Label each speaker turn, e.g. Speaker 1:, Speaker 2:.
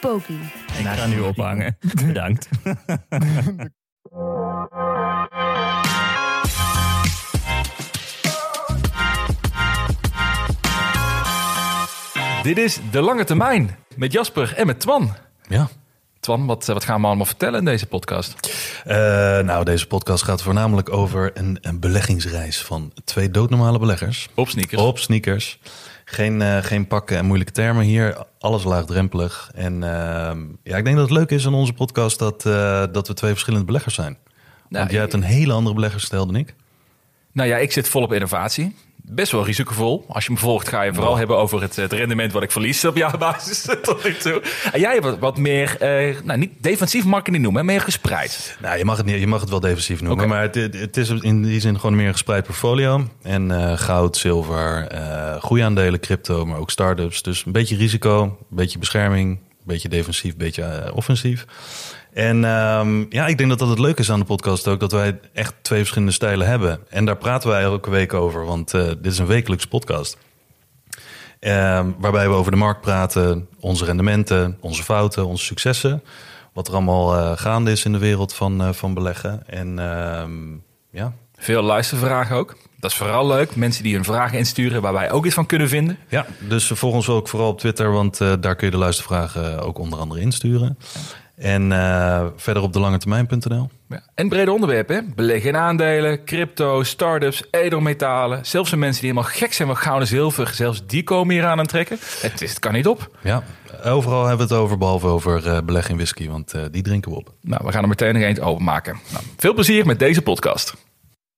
Speaker 1: Poki.
Speaker 2: Ik ga nu ophangen. Bedankt.
Speaker 3: Dit is De Lange Termijn met Jasper en met Twan.
Speaker 4: Ja.
Speaker 3: Twan, wat, eh, wat gaan we allemaal vertellen in deze podcast?
Speaker 4: Eh, nou, deze podcast gaat voornamelijk over een, een beleggingsreis van twee doodnormale beleggers.
Speaker 3: Op sneakers.
Speaker 4: Op sneakers. Geen, eh, geen pakken en moeilijke termen hier. Alles laagdrempelig. En ehm, ja, ik denk dat het leuk is aan onze podcast dat, eh, dat we twee verschillende beleggers zijn.
Speaker 3: Nou,
Speaker 4: Want jij hebt een hele andere beleggersstijl dan ik.
Speaker 3: Nou ja, ik zit vol op innovatie. Best wel risicovol. Als je me volgt, ga je vooral hebben over het, het rendement wat ik verlies op jaarbasis tot nu toe. En jij hebt wat, wat meer, eh, nou niet defensief mag ik het niet noemen, maar meer gespreid.
Speaker 4: Nou, je mag het, niet, je mag het wel defensief noemen,
Speaker 3: Oké.
Speaker 4: maar het, het- het is in die zin gewoon meer een gespreid portfolio. En eh, goud, zilver, eh groeiaandelen, crypto, maar ook start-ups. Dus een beetje risico, een beetje bescherming, een beetje defensief, een beetje eh, offensief. En ehm, ja, ik denk dat dat het leuke is aan de podcast ook, dat wij echt twee verschillende stijlen hebben. En daar praten wij elke week over, want eh, dit is een wekelijkse podcast. Ehm, waarbij we over de markt praten, onze rendementen, onze fouten, onze successen. Wat er allemaal eh, gaande is in de wereld van, eh, van beleggen. En ehm, ja.
Speaker 3: Veel luistervragen ook. Dat is vooral leuk. Mensen die hun vragen insturen waar wij ook iets van kunnen vinden.
Speaker 4: ja, dus volg ons ook vooral op Twitter, want eh, daar kun je de luistervragen eh, ook onder andere insturen. En eh, verder op de langetermijn.nl.
Speaker 3: Ja. En brede onderwerpen, hè? beleggen in aandelen, crypto, start-ups, edelmetalen. Zelfs de mensen die helemaal gek zijn van goud en zilver, zelfs die komen hier aan het trekken. Het, is- het kan niet op.
Speaker 4: Ja, overal hebben we het over, behalve over eh beleggen in whisky, want eh, die drinken we op.
Speaker 3: Nou, we gaan er meteen nog eens openmaken. Nou, veel plezier met deze podcast.